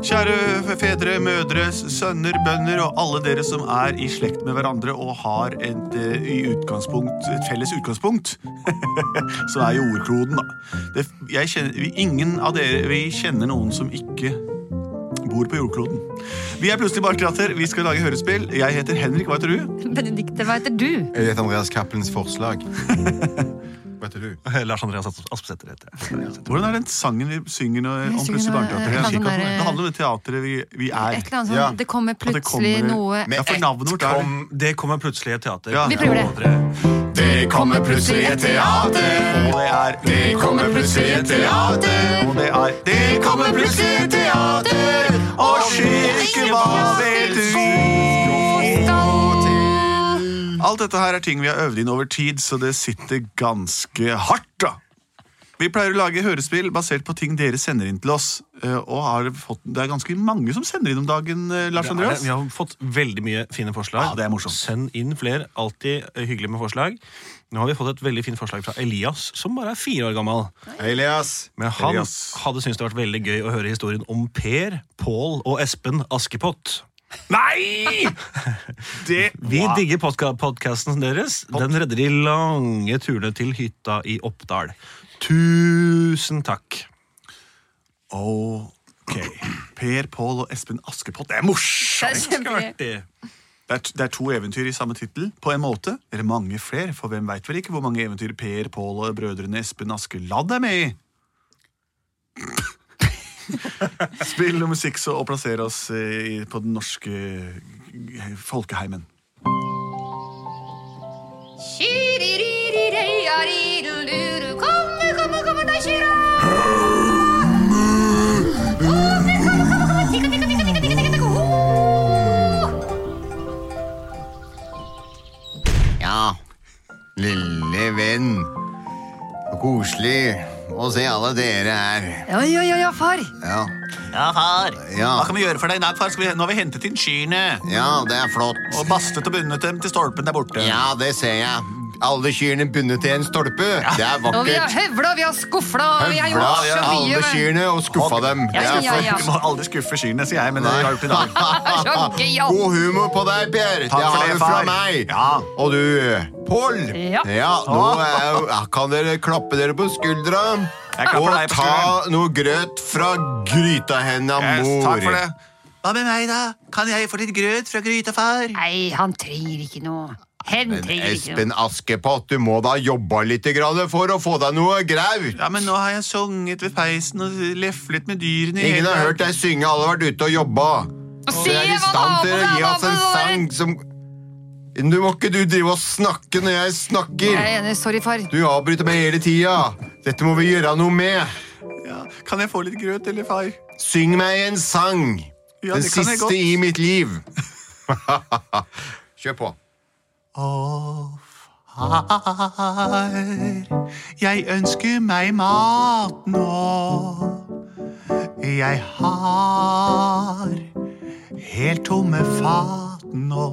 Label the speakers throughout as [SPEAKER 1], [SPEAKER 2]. [SPEAKER 1] Kjære fedre, mødre, sønner, bønder og alle dere som er i slekt med hverandre og har et, eh, i utgangspunkt, et felles utgangspunkt, så er jo ordkloden, da. Det, jeg kjenner, vi, ingen av dere vi kjenner noen som ikke bor på jordkloden. Vi er plutselig barkratter, vi skal lage hørespill. Jeg heter Henrik, hva heter du?
[SPEAKER 2] Benedikte, hva heter du?
[SPEAKER 3] Jeg heter Andreas Cappelens forslag. Vet du?
[SPEAKER 4] Eh, Lars Andreas Aspesæter heter jeg.
[SPEAKER 1] Hvordan er den sangen vi synger når,
[SPEAKER 2] Vi
[SPEAKER 1] om
[SPEAKER 2] synger
[SPEAKER 1] plutselig
[SPEAKER 2] noe-
[SPEAKER 1] barnkratter?
[SPEAKER 2] et eller annet sånn der-
[SPEAKER 1] Det handler om det teatret vi, vi
[SPEAKER 2] Et
[SPEAKER 1] er.
[SPEAKER 2] eller annet sånt.
[SPEAKER 3] Ja.
[SPEAKER 2] Det kommer plutselig
[SPEAKER 1] kommer-
[SPEAKER 2] noe
[SPEAKER 1] Ja, for navnet vårt er
[SPEAKER 4] Kom, Mm, det kommer plutselig et teater.
[SPEAKER 1] Ja.
[SPEAKER 2] Vi prøver det.
[SPEAKER 4] Og dere-
[SPEAKER 3] Det kommer plutselig et teater.
[SPEAKER 1] Og det er
[SPEAKER 3] Det kommer plutselig et teater.
[SPEAKER 1] Og det er Det kommer plutselig et teater Og kirke, hva vet du? Alt dette her er ting vi har øvd inn over tid Så det sitter ganske hardt da vi pleier å lage hørespill basert på ting dere sender inn til oss. eh, Og har fått, det er ganske mange som sender inn om dagen, eh, Lars
[SPEAKER 4] Det er det.
[SPEAKER 1] Andreas.
[SPEAKER 4] Vi har fått veldig mye fine forslag.
[SPEAKER 1] Ja, det er morsomt.
[SPEAKER 4] Send inn flere. Alltid eh, hyggelig med forslag. Nå har vi fått et veldig fint forslag fra Elias, som bare er fire år gammel.
[SPEAKER 3] Hei, Elias.
[SPEAKER 4] Men han
[SPEAKER 1] Elias.
[SPEAKER 4] hadde syntes det hadde vært veldig gøy å høre historien om Per, Pål og Espen Askepott.
[SPEAKER 1] Nei! Det
[SPEAKER 4] Vi digger podka- podcasten deres. Den redder de lange turene til hytta i Oppdal. Tusen takk.
[SPEAKER 1] Ok. Per, Pål og Espen Askepott. Det er morsomt!
[SPEAKER 2] Det er kjempegøy.
[SPEAKER 4] Det.
[SPEAKER 1] Det er, det er to eventyr i samme tittel, på en måte. Eller mange flere, for hvem veit vel ikke hvor mange eventyr Per, Pål og brødrene Espen Askeladd er med i? Spill og musikk, så og plasser oss eh, i- på den norske eh, folkeheimen.
[SPEAKER 2] Kyriririririaririluru, Komme, komme, komme deg, kyrra! Komme, komme, komme, komme, tikka, tikka, tikka, tikka, tikka, tikka, tikka, ho!
[SPEAKER 3] Ja, lille venn. Koselig å se alle dere her.
[SPEAKER 2] Ja, ja, ja, ja, far.
[SPEAKER 3] Ja,
[SPEAKER 1] Ja, far.
[SPEAKER 3] ja,
[SPEAKER 1] Hva kan vi gjøre for deg i dag, far? Skal vi, nå har vi hentet inn kyrne.
[SPEAKER 3] ja det er flott.
[SPEAKER 1] Og bastet og bundet dem til stolpen der borte.
[SPEAKER 3] Ja, det ser jeg. Alle kyrne bundet til en stolpe. Det er
[SPEAKER 2] Og vi har
[SPEAKER 3] vakkert.
[SPEAKER 2] høvla, vi har skufla, og vi har
[SPEAKER 3] Høvla
[SPEAKER 2] gjort så mye.
[SPEAKER 3] alle
[SPEAKER 2] men-
[SPEAKER 3] kyrne og skuffa dem. Det
[SPEAKER 2] Ja, ja,
[SPEAKER 3] er
[SPEAKER 2] ja.
[SPEAKER 3] flott.
[SPEAKER 1] Vi må aldri skuffe kyrne, sier jeg, men det har vi gjort i dag.
[SPEAKER 2] Det er så gøyalt.
[SPEAKER 3] God humor på deg, Per.
[SPEAKER 1] Takk
[SPEAKER 3] det
[SPEAKER 1] for
[SPEAKER 3] har
[SPEAKER 1] det,
[SPEAKER 3] du
[SPEAKER 1] far.
[SPEAKER 3] fra meg.
[SPEAKER 1] Ja.
[SPEAKER 3] Og du, Pål.
[SPEAKER 2] Ja.
[SPEAKER 3] nå er, jo- kan dere klappe dere på skuldra.
[SPEAKER 1] Jeg klapper
[SPEAKER 3] Og
[SPEAKER 1] deg på
[SPEAKER 3] ta noe grøt fra gryta henne av
[SPEAKER 1] Yes,
[SPEAKER 3] mor.
[SPEAKER 1] takk for det. Hva med meg, da? Kan jeg få litt grøt fra gryta, far?
[SPEAKER 2] Nei, han trenger ikke noe. Hen
[SPEAKER 3] Men
[SPEAKER 2] trenger ikke noe.
[SPEAKER 3] Espen Askepott, du må da jobbe litt grann for å få deg noe graut.
[SPEAKER 1] Ja, men nå har jeg sunget ved peisen og leflet med dyrene. i
[SPEAKER 3] Ingen
[SPEAKER 1] hele
[SPEAKER 3] har hørt
[SPEAKER 1] dag.
[SPEAKER 3] deg synge, alle har vært ute og jobba.
[SPEAKER 2] Og
[SPEAKER 3] Så
[SPEAKER 2] se
[SPEAKER 3] jeg er i
[SPEAKER 2] hva
[SPEAKER 3] stand til å
[SPEAKER 2] naboen
[SPEAKER 3] gi
[SPEAKER 2] er,
[SPEAKER 3] oss en
[SPEAKER 2] naboen er.
[SPEAKER 3] sang som Du må ikke du drive og snakke når jeg snakker.
[SPEAKER 2] Jeg er enig. Sorry, far.
[SPEAKER 3] Du avbryter meg hele tida. Dette må vi gjøre noe med.
[SPEAKER 1] Ja, kan jeg få litt grøt, eller, far?
[SPEAKER 3] Syng meg en sang.
[SPEAKER 1] Ja,
[SPEAKER 3] Den
[SPEAKER 1] det kan jeg
[SPEAKER 3] siste
[SPEAKER 1] godt.
[SPEAKER 3] i mitt liv. Kjør på.
[SPEAKER 1] Å, far, jeg ønsker meg mat nå. Jeg har helt tomme fat nå.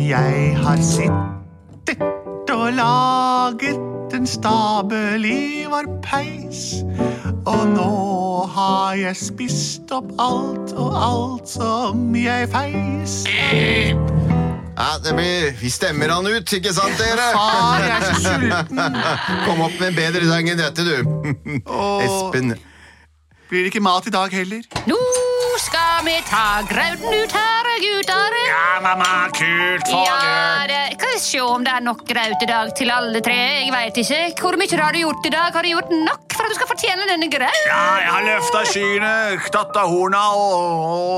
[SPEAKER 1] Jeg har sittet og laget en stabel i vår peis. Og nå har jeg spist opp alt og alt som jeg feis.
[SPEAKER 3] Ja, det blir, vi stemmer han ut, ikke sant, dere?
[SPEAKER 1] Far, jeg er så sulten.
[SPEAKER 3] Kom opp med en bedre sang enn dette, du.
[SPEAKER 1] Åh.
[SPEAKER 3] Espen.
[SPEAKER 1] Blir det ikke mat i dag heller?
[SPEAKER 2] Nå skal vi ta grauten ut her, gutter.
[SPEAKER 1] Ja, mamma, kult,
[SPEAKER 2] Ja, det kan vi se om det er nok graut i dag til alle tre. Jeg veit ikke. Hvor mye har du gjort i dag? Har du gjort nok for at du skal fortjene denne grauten?
[SPEAKER 1] Ja, jeg har løfta skyene, knatta horna og, og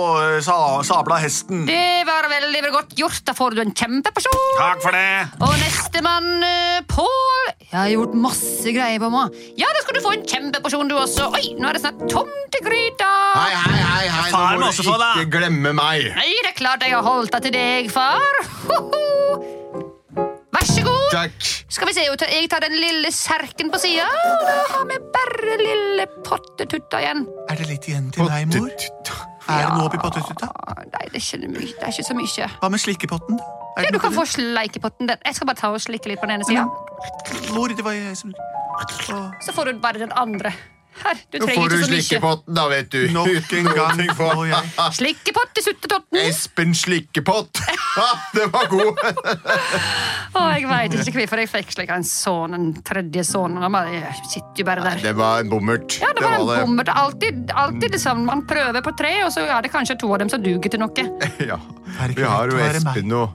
[SPEAKER 1] sa, sabla hesten.
[SPEAKER 2] Det var veldig veldig godt gjort. Da får du en kjempeperson.
[SPEAKER 1] Takk for det.
[SPEAKER 2] Og nestemann, eh, Pål. Jeg har gjort masse greier på meg. Ja, da skal du få en kjempeporsjon, du også. Oi, nå er det snart tomt i gryta.
[SPEAKER 3] Hei, hei, hei, hei.
[SPEAKER 1] Far må
[SPEAKER 3] Nå må du
[SPEAKER 1] også få
[SPEAKER 3] ikke
[SPEAKER 1] det.
[SPEAKER 3] glemme meg.
[SPEAKER 2] Nei, det er klart jeg har holdt deg til deg, far. Hoho. Vær så god.
[SPEAKER 3] Takk.
[SPEAKER 2] Skal vi se, jeg tar- jeg tar den lille serken på sida, og da har vi bare lille pottetutta igjen.
[SPEAKER 1] Er det litt igjen til deg, mor? Er det noe oppi pottetuta?
[SPEAKER 2] Ah, Nei, det er ikke, my- det er ikke så mye.
[SPEAKER 1] Hva med slikkepotten? Er
[SPEAKER 2] Ja,
[SPEAKER 1] det
[SPEAKER 2] du
[SPEAKER 1] noe
[SPEAKER 2] kan
[SPEAKER 1] til
[SPEAKER 2] få sleikepotten. Den. Jeg skal bare ta
[SPEAKER 3] Mm.
[SPEAKER 2] og slikke litt på den ene sida.
[SPEAKER 1] den? Mor, det var jeg som Å,
[SPEAKER 2] Så får du bare den andre. Her, du
[SPEAKER 3] Nå får
[SPEAKER 2] trenger
[SPEAKER 3] du
[SPEAKER 2] ikke så mye.
[SPEAKER 3] slikkepotten, da, vet du.
[SPEAKER 1] Nok en gang får jeg
[SPEAKER 2] Slikkepott til suttetotten.
[SPEAKER 3] Espen Slikkepott! Ha, det var god!
[SPEAKER 2] Å, jeg veit ikke hvorfor jeg fikk slik en sånn, en tredje sånn. Han bare jeg sitter jo bare der.
[SPEAKER 3] Det var en bommert.
[SPEAKER 2] Ja, det var en
[SPEAKER 3] det.
[SPEAKER 2] bommert. Alltid, alltid liksom, man prøver på tre, og så er det kanskje to av dem som duger til noe.
[SPEAKER 3] Ja.
[SPEAKER 1] er ikke
[SPEAKER 3] Vi har
[SPEAKER 1] lett
[SPEAKER 3] jo
[SPEAKER 1] å være meg.
[SPEAKER 3] Espen nå.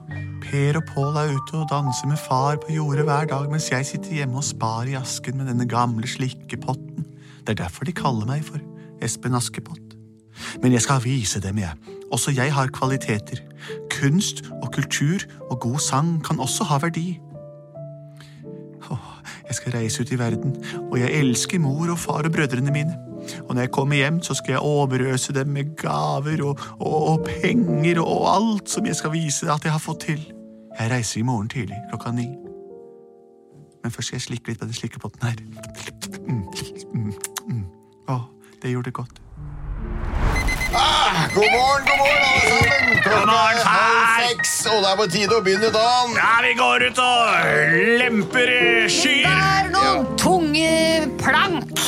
[SPEAKER 1] Per og Pål er ute og danser med far på jordet hver dag, mens jeg sitter hjemme og spar i asken med denne gamle slikkepotten. Det er derfor de kaller meg for Espen Askepott. Men jeg skal vise dem, jeg. Også jeg har kvaliteter. Kunst og kultur og god sang kan også ha verdi. Åh, jeg skal reise ut i verden, og jeg elsker mor og far og brødrene mine. Og når jeg kommer hjem, så skal jeg overøse dem med gaver og, og, og penger og alt som jeg skal vise at jeg har fått til. Jeg reiser i morgen tidlig klokka ni. Men først skal jeg slikke litt på den slikkepotten her. Mm, mm, mm. Åh, det gjorde godt.
[SPEAKER 3] God morgen, god morgen, alle sammen! Klokka
[SPEAKER 1] morgen,
[SPEAKER 3] er
[SPEAKER 1] far!
[SPEAKER 3] halv seks, og det er på tide å begynne dagen.
[SPEAKER 1] Ja, vi går ut og lemper skyer!
[SPEAKER 2] Er noen tunge plank?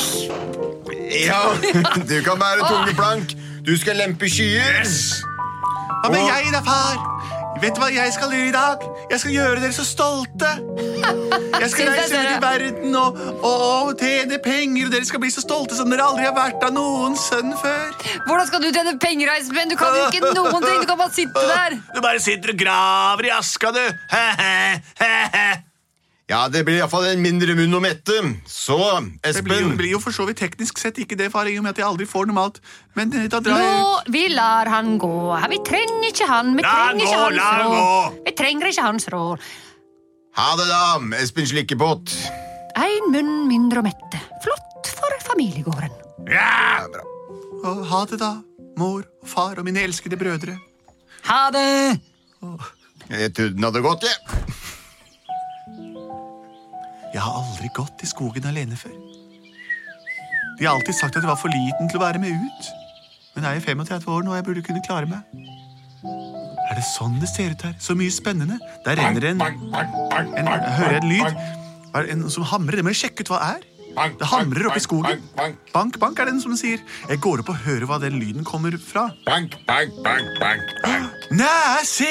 [SPEAKER 3] Ja, du kan bære tungeplank. Du skal lempe skyer.
[SPEAKER 1] Hva med jeg da, far? Vet du hva jeg skal gjøre i dag? Jeg skal gjøre dere så stolte. Jeg skal
[SPEAKER 2] Synes jeg
[SPEAKER 1] reise ut i
[SPEAKER 2] dere-
[SPEAKER 1] verden og, og, og tjene penger, og dere skal bli så stolte som dere aldri har vært av noen sønn før.
[SPEAKER 2] Hvordan skal du tjene penger, Espen? Du kan jo ikke noen ting! Du kan bare sitte der.
[SPEAKER 1] Du bare sitter og graver i aska, du.
[SPEAKER 3] Ja, det blir iallfall en mindre munn å mette. Så,
[SPEAKER 1] Det blir, jo,
[SPEAKER 3] Espen
[SPEAKER 1] blir jo for så vidt teknisk sett ikke det, far, i og med at jeg aldri får noe mat. Men eh, da drar jeg
[SPEAKER 2] Nå, vi lar han gå. Her, Vi trenger ikke han. Vi
[SPEAKER 1] La han
[SPEAKER 2] trenger ikke
[SPEAKER 1] gå, la
[SPEAKER 2] hans
[SPEAKER 1] han
[SPEAKER 2] råd.
[SPEAKER 1] gå.
[SPEAKER 2] Vi trenger ikke hans råd.
[SPEAKER 3] Ha det, da, Espen Slikkepott.
[SPEAKER 2] Én munn mindre å mette. Flott for familiegården.
[SPEAKER 3] Ja, bra.
[SPEAKER 1] Og ha det, da. Mor og far og mine elskede brødre.
[SPEAKER 2] Ha det!
[SPEAKER 3] Jeg trodde den Eh, hadde gått, jeg. Ja.
[SPEAKER 1] Jeg har aldri gått i skogen alene før. De har alltid sagt at jeg var for liten til å være med ut. Men jeg er 35 år nå, og jeg burde kunne klare meg. Er det sånn det ser ut her? Så mye spennende. Der renner det en, en Hører jeg en lyd? Hva Er det en som hamrer? Det må jeg sjekke ut hva er. Det hamrer oppi skogen. Bank, bank er det den som sier. Jeg går opp og hører hva den lyden kommer fra.
[SPEAKER 5] Bank, bank, bank, bank, bank.
[SPEAKER 1] Nei, se!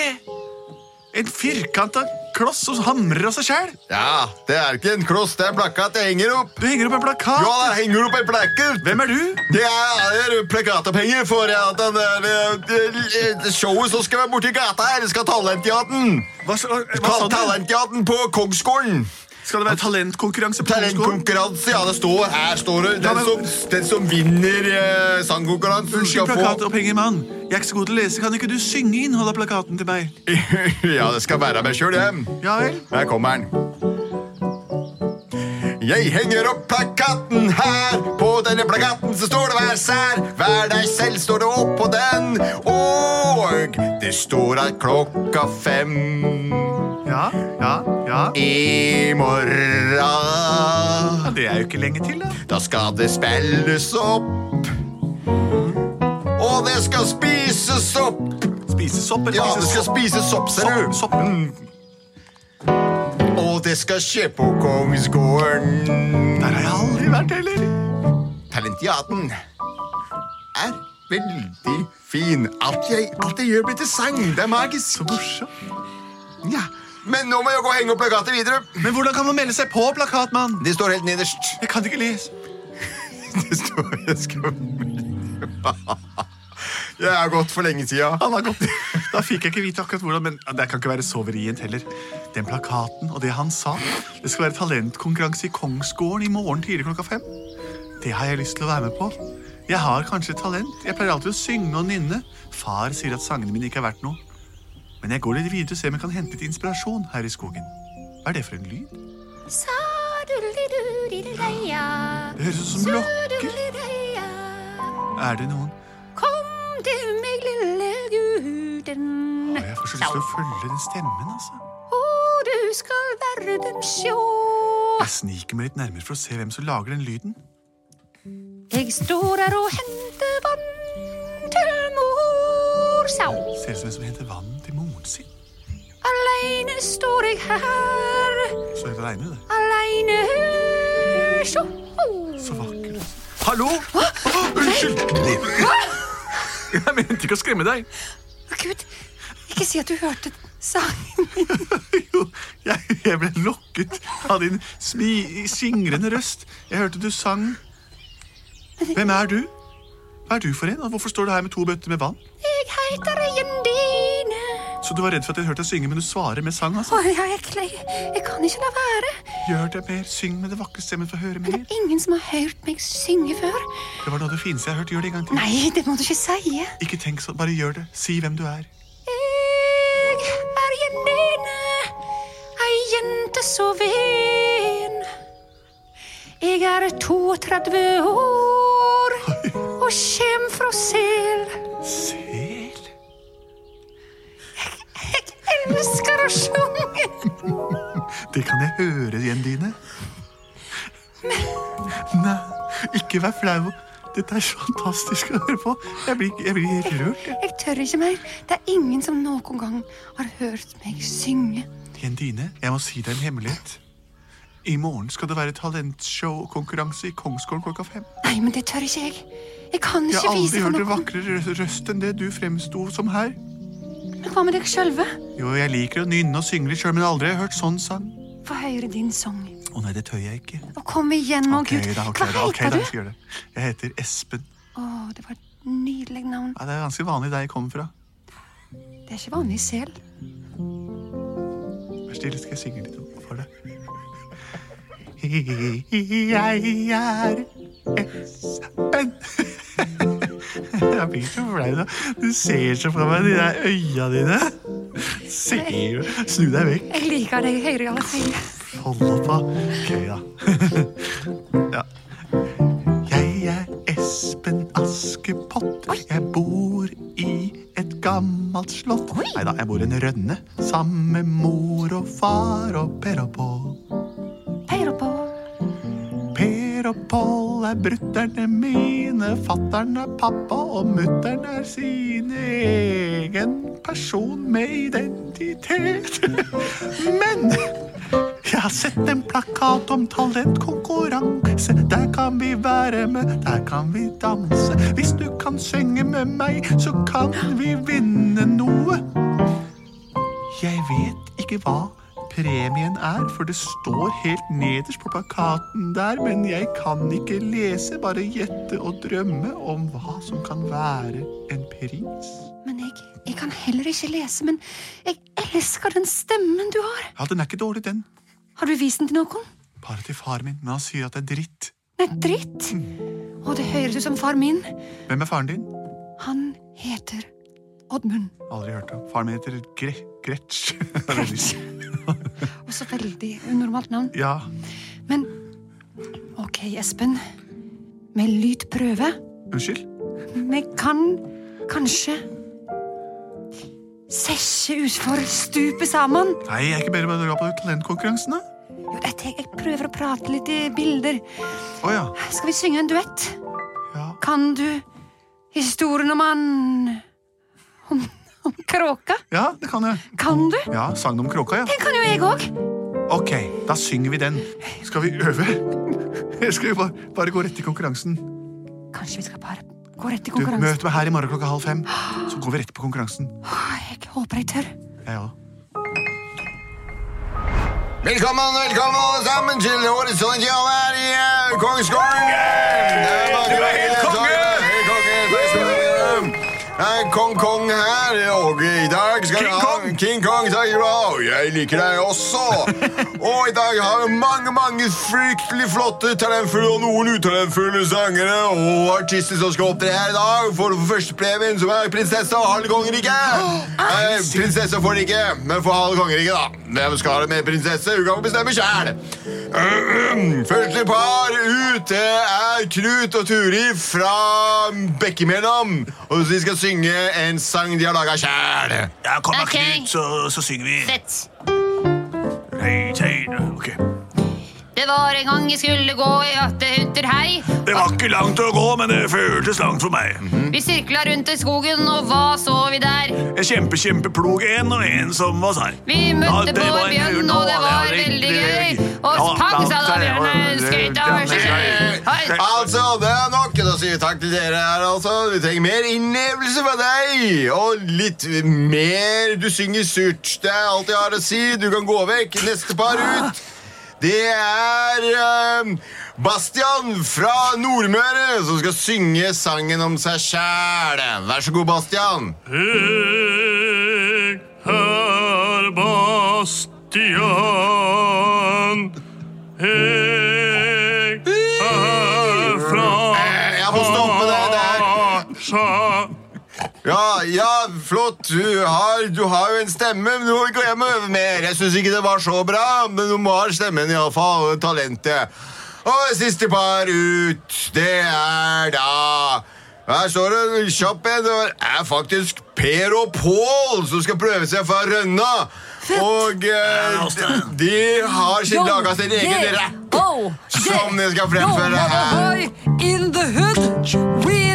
[SPEAKER 1] En firkanta kloss som hamrer av seg sjæl.
[SPEAKER 3] Ja, det er ikke en kloss, det er en plakat jeg henger opp.
[SPEAKER 1] Du henger opp en plakat.
[SPEAKER 3] Ja, der henger du opp en plakat.
[SPEAKER 1] Hvem er du?
[SPEAKER 3] Det er plakatopphenger for at den der, eh, eh, showet som skal være borti gata her, skal Talentjaten.
[SPEAKER 1] Hva, s- hva, hva sa
[SPEAKER 3] Kall
[SPEAKER 1] du?
[SPEAKER 3] Talentjaten på Kongsgården.
[SPEAKER 1] Skal det være talentkonkurranse på skolen?
[SPEAKER 3] Talentkonkurranse, ja, det står her. står det.
[SPEAKER 1] Ja,
[SPEAKER 3] Den
[SPEAKER 1] men-
[SPEAKER 3] som, den som vinner eh, sangkonkurransen,
[SPEAKER 1] Unnskyld,
[SPEAKER 3] skal
[SPEAKER 1] plakat
[SPEAKER 3] få
[SPEAKER 1] og penger, mann. Jeg er ikke så god til å lese. Kan ikke du synge innholdet av plakaten til meg?
[SPEAKER 3] Ja, det skal være meg sjøl, jeg.
[SPEAKER 1] Ja vel?
[SPEAKER 3] Her kommer den. Jeg henger opp plakaten her. På denne plakaten så står det 'Vær sær'. Vær deg selv, står det opp på den. Og det står at klokka fem
[SPEAKER 1] Ja, ja, ja.
[SPEAKER 3] i morgen
[SPEAKER 1] ja det er jo ikke lenge til, da.
[SPEAKER 3] Da skal det spilles opp. Og det skal spises opp.
[SPEAKER 1] Spisesopp eller
[SPEAKER 3] Ja, det skal
[SPEAKER 1] spisesopp?
[SPEAKER 3] spises sopp, ser du.
[SPEAKER 1] Sopp, sopp.
[SPEAKER 3] Og det skal skje på Kongsgården.
[SPEAKER 1] Der har jeg aldri vært heller.
[SPEAKER 3] Talentiaten er veldig fin. Alt jeg, alt jeg gjør, blir til sang. Det er magisk.
[SPEAKER 1] Så morsomt.
[SPEAKER 3] Ja. Men nå må jeg gå og henge opp plakatet videre.
[SPEAKER 1] Men hvordan kan man melde seg på plakatmann?
[SPEAKER 3] Det står helt nederst.
[SPEAKER 1] Jeg kan ikke lese.
[SPEAKER 3] Det står jeg skal... Jeg har gått for lenge sida.
[SPEAKER 1] Han har gått. Da fikk jeg ikke vite akkurat hvordan, men det kan ikke være så vrient heller. Den plakaten og det han sa, det skal være talentkonkurranse i Kongsgården i morgen tidlig klokka fem. Det har jeg lyst til å være med på. Jeg har kanskje talent. Jeg pleier alltid å synge og nynne. Far sier at sangene mine ikke er verdt noe. Men jeg går litt videre og ser om jeg kan hente litt inspirasjon her i skogen. Hva er det for en lyd? Det høres ut som lokker. Er det noen?
[SPEAKER 2] Kom til meg, lille guden.
[SPEAKER 1] Å, jeg får så lyst til å følge den stemmen, altså.
[SPEAKER 2] Og du skal verden sjå.
[SPEAKER 1] Jeg sniker meg litt nærmere for å se hvem som lager den lyden.
[SPEAKER 2] Jeg står her og henter vann til mor sau.
[SPEAKER 1] Ser ut som en som henter vann til moren sin.
[SPEAKER 2] Aleine står jeg her,
[SPEAKER 1] Så helt alene, det.
[SPEAKER 2] aleine sjå.
[SPEAKER 1] Så vakkert.
[SPEAKER 6] Hallo? Unnskyld! Jeg mente ikke å skremme deg.
[SPEAKER 2] Å, Gud, ikke si at du hørte sangen.
[SPEAKER 1] Jo, jeg, jeg ble lokket av din smi, singrende røst. Jeg hørte du sang. Hvem er du? Hva er du for en? Og hvorfor står du her med to bøtter med vann?
[SPEAKER 2] Jeg heter Jendine.
[SPEAKER 1] Så du var redd for at jeg hørte deg synge, men du svarer med sang, altså.
[SPEAKER 2] Å, ja, jeg, kle- jeg kan ikke la være.
[SPEAKER 1] Gjør det mer, syng med det vakre stemmen for å høre
[SPEAKER 2] Det
[SPEAKER 1] mer.
[SPEAKER 2] er ingen som har hørt meg synge før.
[SPEAKER 1] Det var noe av det fineste jeg har hørt. Gjør det en gang til.
[SPEAKER 2] Nei, det må du ikke si.
[SPEAKER 1] Ikke tenk sånn, bare gjør det. Si hvem du er.
[SPEAKER 2] Jeg er Jendine, ei jente så ven. Jeg er 32 år og kjem fra Sel.
[SPEAKER 1] Sel?
[SPEAKER 2] Jeg elsker å synge.
[SPEAKER 1] Det kan jeg høre igjen, Dine. Nei, ikke vær flau. Dette er så fantastisk å høre på. Jeg blir, jeg blir helt rørt. jeg.
[SPEAKER 2] Jeg tør ikke mer. Det er ingen som noen gang har hørt meg synge.
[SPEAKER 1] Jendine, jeg må si deg en hemmelighet. I morgen skal det være talentshow-konkurranse i Kongsgården klokka fem.
[SPEAKER 2] Nei, men det tør ikke jeg. Jeg kan
[SPEAKER 1] Jeg
[SPEAKER 2] ikke
[SPEAKER 1] har aldri
[SPEAKER 2] vise for
[SPEAKER 1] hørt en
[SPEAKER 2] noen.
[SPEAKER 1] vakrere rø- røst enn det du fremsto som her.
[SPEAKER 2] Men hva med deg sjølve?
[SPEAKER 1] Jo, jeg liker å nynne og synge litt sjøl, men aldri har jeg hørt sånn sang.
[SPEAKER 2] Få høre din sang.
[SPEAKER 1] Å nei, det tør jeg ikke.
[SPEAKER 2] Og kom igjen, å
[SPEAKER 1] Ok,
[SPEAKER 2] gud.
[SPEAKER 1] da, ok,
[SPEAKER 2] Hva
[SPEAKER 1] da, ok, da,
[SPEAKER 2] heter
[SPEAKER 1] jeg
[SPEAKER 2] du?
[SPEAKER 1] skal gjøre det. Jeg heter Espen.
[SPEAKER 2] Å, det var et nydelig navn.
[SPEAKER 1] Nei, det er ganske vanlig der jeg kommer fra.
[SPEAKER 2] Det er ikke vanlig sel.
[SPEAKER 1] Vær stille, skal jeg synge litt for deg. Jeg er Espen. Jeg blir så flau nå. Du ser så på meg de der øya dine. Ser du? Snu deg vekk.
[SPEAKER 2] Jeg liker deg høyere i alle fall.
[SPEAKER 1] Hold opp, da. Gøy, da. Ja. Jeg er Espen Askepott. Jeg bor i et gammelt slott. Nei da, jeg bor i en rønne. Sammen med mor og far og Per og Pål.
[SPEAKER 2] Peiler på.
[SPEAKER 1] Per og Pål er brutter'n mine, fatter'n er pappa, og mutter'n er sin egen person med identitet. Men jeg har sett en plakat om talentkonkurranse. Der kan vi være med, der kan vi danse. Hvis du kan synge med meg, så kan vi vinne noe. Jeg vet ikke hva premien er, for det står helt nederst på plakaten der, men jeg kan ikke lese, bare gjette og drømme om hva som kan være en pris.
[SPEAKER 2] Men jeg, jeg kan heller ikke lese, men jeg elsker den stemmen du har.
[SPEAKER 1] Ja, den er ikke dårlig, den.
[SPEAKER 2] Har du vist den til noen?
[SPEAKER 1] Bare til far min, men han sier at det er dritt.
[SPEAKER 2] Nei, dritt. Å, det høres ut som far min.
[SPEAKER 1] Hvem er faren din?
[SPEAKER 2] Han heter Oddmund.
[SPEAKER 1] Aldri hørt om. Faren min heter Gre Gretsch.
[SPEAKER 2] Også veldig unormalt navn.
[SPEAKER 1] ja,
[SPEAKER 2] Men ok, Espen. Med lydprøve
[SPEAKER 1] unnskyld?
[SPEAKER 2] Vi kan kanskje Sesje utfor stupet sammen.
[SPEAKER 1] Nei, jeg er ikke bedre med å dra på talentkonkurransen, da.
[SPEAKER 2] Jo, jeg, tenker- jeg prøver å prate litt i bilder.
[SPEAKER 1] Å ja.
[SPEAKER 2] Skal vi synge en duett?
[SPEAKER 1] ja.
[SPEAKER 2] Kan du historien om han Om, om kråka?
[SPEAKER 1] Ja, det kan jeg.
[SPEAKER 2] Kan du?
[SPEAKER 1] Ja, sangen om kråka, ja.
[SPEAKER 2] Den kan jo jeg òg.
[SPEAKER 1] Ok, da synger vi den. Skal vi øve? Eller skal vi bare, bare gå rett til konkurransen?
[SPEAKER 2] Kanskje vi skal bare gå rett i
[SPEAKER 1] Du,
[SPEAKER 2] konkurransen.
[SPEAKER 1] Møt meg her i morgen klokka halv fem, så går vi rett på konkurransen.
[SPEAKER 2] Åh, Jeg håper jeg tør.
[SPEAKER 1] Jeg òg.
[SPEAKER 3] Velkommen, velkommen alle sammen til Horisont Jal her i eh, Kongsgården! Du er helt konge! Takk skal du ha. Det er Kong Kong her, og i dag skal King Kong! King Kong, takk skal du ha. Og Jeg liker deg også. og i dag har vi mange, mange fryktelig flotte talentfulle og noen utalentfulle sangere og artister som skal opptre her i dag for førstepremien, som er prinsesse av halve kongeriket. Eh, Prinsesse får det ikke, men får halve kongeriket, da. Hvem skal ha det med prinsesse? Hun kan få bestemme sjæl. Første par ut det er Knut og Turi fra Bekkemellom. Og de skal synge en sang de har laga sjæl.
[SPEAKER 6] Ja, Kom da,
[SPEAKER 2] Ok.
[SPEAKER 6] Knut, så, så synger vi.
[SPEAKER 2] Fett.
[SPEAKER 6] Hei, hei. Ok.
[SPEAKER 2] Du, Det var en gang jeg skulle gå i åtte hunter hei.
[SPEAKER 1] Det var ikke langt å gå, men det føltes langt for meg.
[SPEAKER 2] Vi sirkla rundt i skogen, og hva så vi der?
[SPEAKER 1] En kjempe, kjempeplog en og en som var sær.
[SPEAKER 2] Vi møtte
[SPEAKER 1] Ja, det
[SPEAKER 2] på
[SPEAKER 1] var
[SPEAKER 2] en
[SPEAKER 1] en
[SPEAKER 2] bjørn,
[SPEAKER 1] bjørn,
[SPEAKER 2] og det
[SPEAKER 1] og
[SPEAKER 2] var
[SPEAKER 1] det er
[SPEAKER 2] veldig
[SPEAKER 1] riktig.
[SPEAKER 2] gøy. Og
[SPEAKER 1] Ja,
[SPEAKER 2] pang, sa da
[SPEAKER 1] det er-
[SPEAKER 2] bjørnen, skøyt over seg selv. Hei.
[SPEAKER 3] Altså, det er nok. Da sier vi takk til dere her, altså. Vi trenger mer innlevelse fra deg. Og litt mer Du synger surt. Det er alt jeg har å si. Du kan gå vekk. Neste par ut. Det er eh, Bastian fra Nordmøre som skal synge sangen om seg sjæl. Vær så god, Bastian.
[SPEAKER 7] Jeg er Bastian. Jeg er fra
[SPEAKER 3] Eh, Jeg må stoppe deg der.
[SPEAKER 7] Sa-
[SPEAKER 3] Ja, ja, flott. Du har, du har jo en stemme, men du må ikke hjem og øve mer. Jeg syns ikke det var så bra, men du må ha stemmen iallfall. Og talentet. Og siste par ut, det er da Her står det en kjapp en. Det er faktisk Per og Pål som skal prøve seg fra Rønna. Og eh, de- de har sin, laga sin egen rapp.
[SPEAKER 8] Oh,
[SPEAKER 3] Som de skal fremføre
[SPEAKER 8] Yo, mother
[SPEAKER 3] her.
[SPEAKER 8] boy, In the hood, we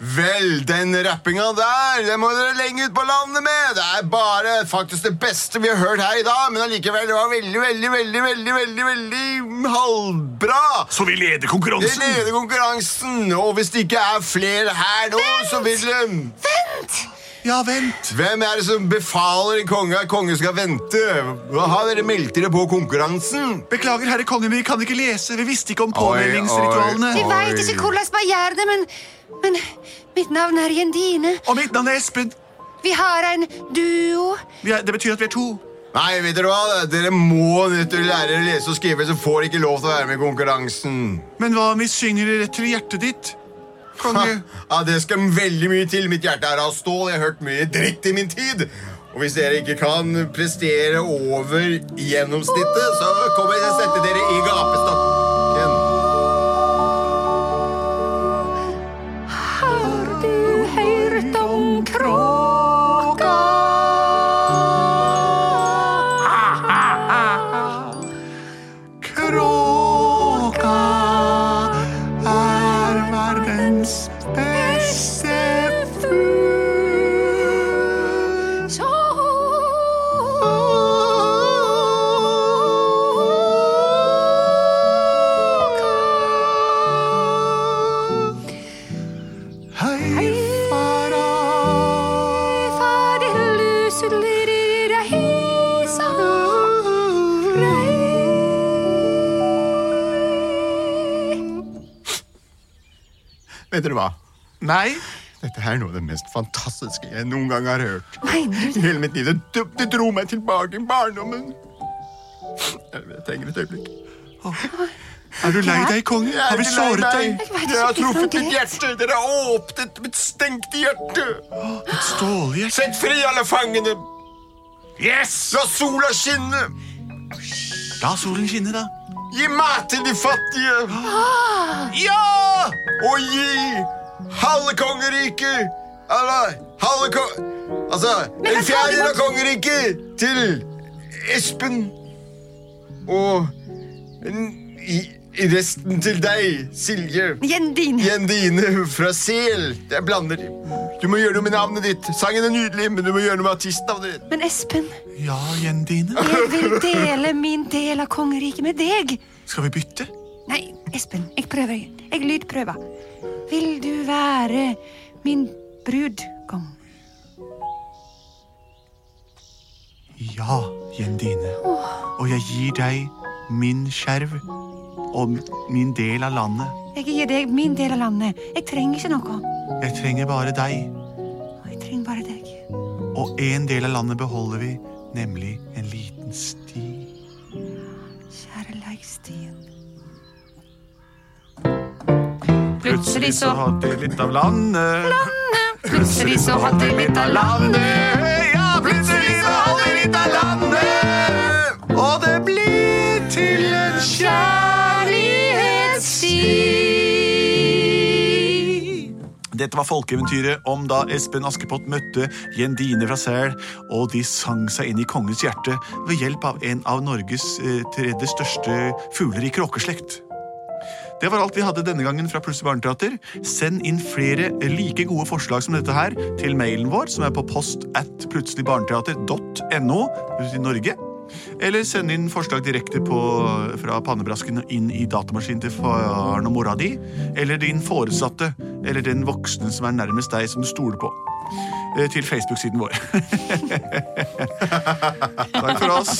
[SPEAKER 3] Vel, den rappinga der, den må dere lenge ut på landet med. Det er bare faktisk det beste vi har hørt her i dag, men allikevel, det var veldig, veldig, veldig, veldig, veldig, veldig halvbra.
[SPEAKER 1] Så vi leder
[SPEAKER 3] Det
[SPEAKER 1] konkurransen.
[SPEAKER 3] leder konkurransen, og hvis det ikke er flere her nå, så vil det... Vent! Ja, vent. Hvem er det som befaler en konge at kongen skal vente? Har dere meldt dere på konkurransen?
[SPEAKER 1] Beklager, herre konge, vi kan ikke lese. Vi visste ikke om
[SPEAKER 3] Oi,
[SPEAKER 2] Vi
[SPEAKER 1] påmeldingsritualene.
[SPEAKER 3] oi.
[SPEAKER 2] veit ikke hvordan man gjør det, men, men mitt navn er Jendine.
[SPEAKER 1] Og mitt navn er Espen.
[SPEAKER 2] Vi har en duo.
[SPEAKER 1] Vi er, det betyr at vi er to.
[SPEAKER 3] Nei, vet dere hva? Dere må nødt til å lære dere å lese og skrive, så får dere ikke lov til å være med i konkurransen.
[SPEAKER 1] Men hva om vi synger rett til hjertet ditt?
[SPEAKER 3] Ha,
[SPEAKER 1] Konge.
[SPEAKER 3] ja, det skal veldig mye til. Mitt hjerte er av stål. Jeg har hørt mye dritt i min tid. Og hvis dere ikke kan prestere over gjennomsnittet, så kommer jeg til å sette dere i gapestokken.
[SPEAKER 8] Har du hørt om kråka?
[SPEAKER 1] Kråka er verdens beste fugl.
[SPEAKER 2] Så
[SPEAKER 1] Hei, fara.
[SPEAKER 3] Vet dere hva?
[SPEAKER 1] Nei.
[SPEAKER 3] Dette her er noe av det mest fantastiske jeg noen gang har hørt. I hele mitt liv. Det, det- det dro meg tilbake i barndommen. Jeg, jeg trenger et øyeblikk.
[SPEAKER 1] Er du lei deg, konge?
[SPEAKER 3] Jeg er
[SPEAKER 1] Har vi
[SPEAKER 3] ikke lei
[SPEAKER 1] såret
[SPEAKER 3] meg.
[SPEAKER 1] deg?
[SPEAKER 3] Dere har truffet mitt hjerte. Dere har åpnet mitt stengte hjerte.
[SPEAKER 1] Stålhjerte.
[SPEAKER 3] Sett fri alle fangene.
[SPEAKER 1] Yes!
[SPEAKER 3] La sola skinne.
[SPEAKER 1] La solen skinne, da.
[SPEAKER 3] Gi mat til de fattige.
[SPEAKER 1] Ja!
[SPEAKER 3] Og gi halve kongeriket Eller halve kong... Altså, en fjerdedel av kongeriket til Espen. Og en, i, i resten til deg, Silje.
[SPEAKER 8] Jendine.
[SPEAKER 3] Jendine fra Sel. Jeg blander. Du må gjøre noe med navnet ditt. Sangen er nydelig, men du må gjøre noe med artistnavnet ditt.
[SPEAKER 8] Men Espen,
[SPEAKER 1] Ja, gjendine.
[SPEAKER 8] jeg vil dele min del av kongeriket med deg.
[SPEAKER 1] Skal vi bytte?
[SPEAKER 8] Nei, Espen, jeg prøver. Jeg lydprøver. Vil du være min brud, kong?
[SPEAKER 1] Ja, gjendine. Og jeg gir deg min skjerv og min del av landet.
[SPEAKER 8] Jeg gir deg min del av landet. Jeg trenger ikke noe.
[SPEAKER 1] Jeg trenger bare deg.
[SPEAKER 8] Jeg trenger bare deg.
[SPEAKER 1] Og en del av landet beholder vi, nemlig en liten sti.
[SPEAKER 8] Kjære leikstien.
[SPEAKER 1] Plutselig så hadde de litt av landet.
[SPEAKER 2] Plutselig så hadde jeg litt av landet.
[SPEAKER 1] Ja, plutselig så hadde de litt av landet. Og det blir til en kjærlighetssti. Dette var folkeeventyret om da Espen Askepott møtte Jendine fra Sel, og de sang seg inn i kongens hjerte ved hjelp av en av Norges eh, tredje største fugler i kråkeslekt. Det var alt vi hadde denne gangen fra Plutselig barneteater. Send inn flere like gode forslag som dette her til mailen vår, som er på post at plutseligbarneteater.no i Norge. Eller send inn forslag direkte på, fra pannebrasken og inn i datamaskinen til faren og mora di. Eller din foresatte, eller den voksne som er nærmest deg, som du stoler på. Eh, Til Facebook-siden vår. Takk for oss.